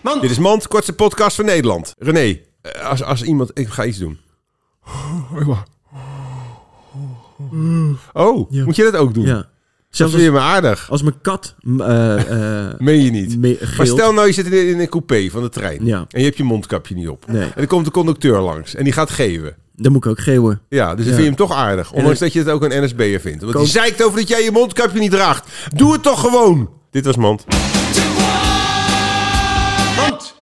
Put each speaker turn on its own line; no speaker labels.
Man.
Dit is Mand, kortste podcast van Nederland. René, eh, als, als iemand... Ik ga iets doen. Oh,
Ja.
moet je dat ook doen?
Ja.
Dat
Zelfs
is weer
als,
maar aardig.
als mijn kat m- eh, eh,
Meen je niet.
me-
Maar
gilt.
stel nou, je zit in, in een coupé van de trein.
Ja.
En je hebt je mondkapje niet op.
Nee.
En dan komt de conducteur langs en die gaat geven.
Dan moet ik ook geeuwen.
Ja, dus dan
Ja.
vind je hem toch aardig. Ondanks
dan-
dat je het ook een NSB'er vindt. Want
Koop-
die zeikt over dat jij je mondkapje niet draagt. Doe het toch gewoon. Dit was Mand.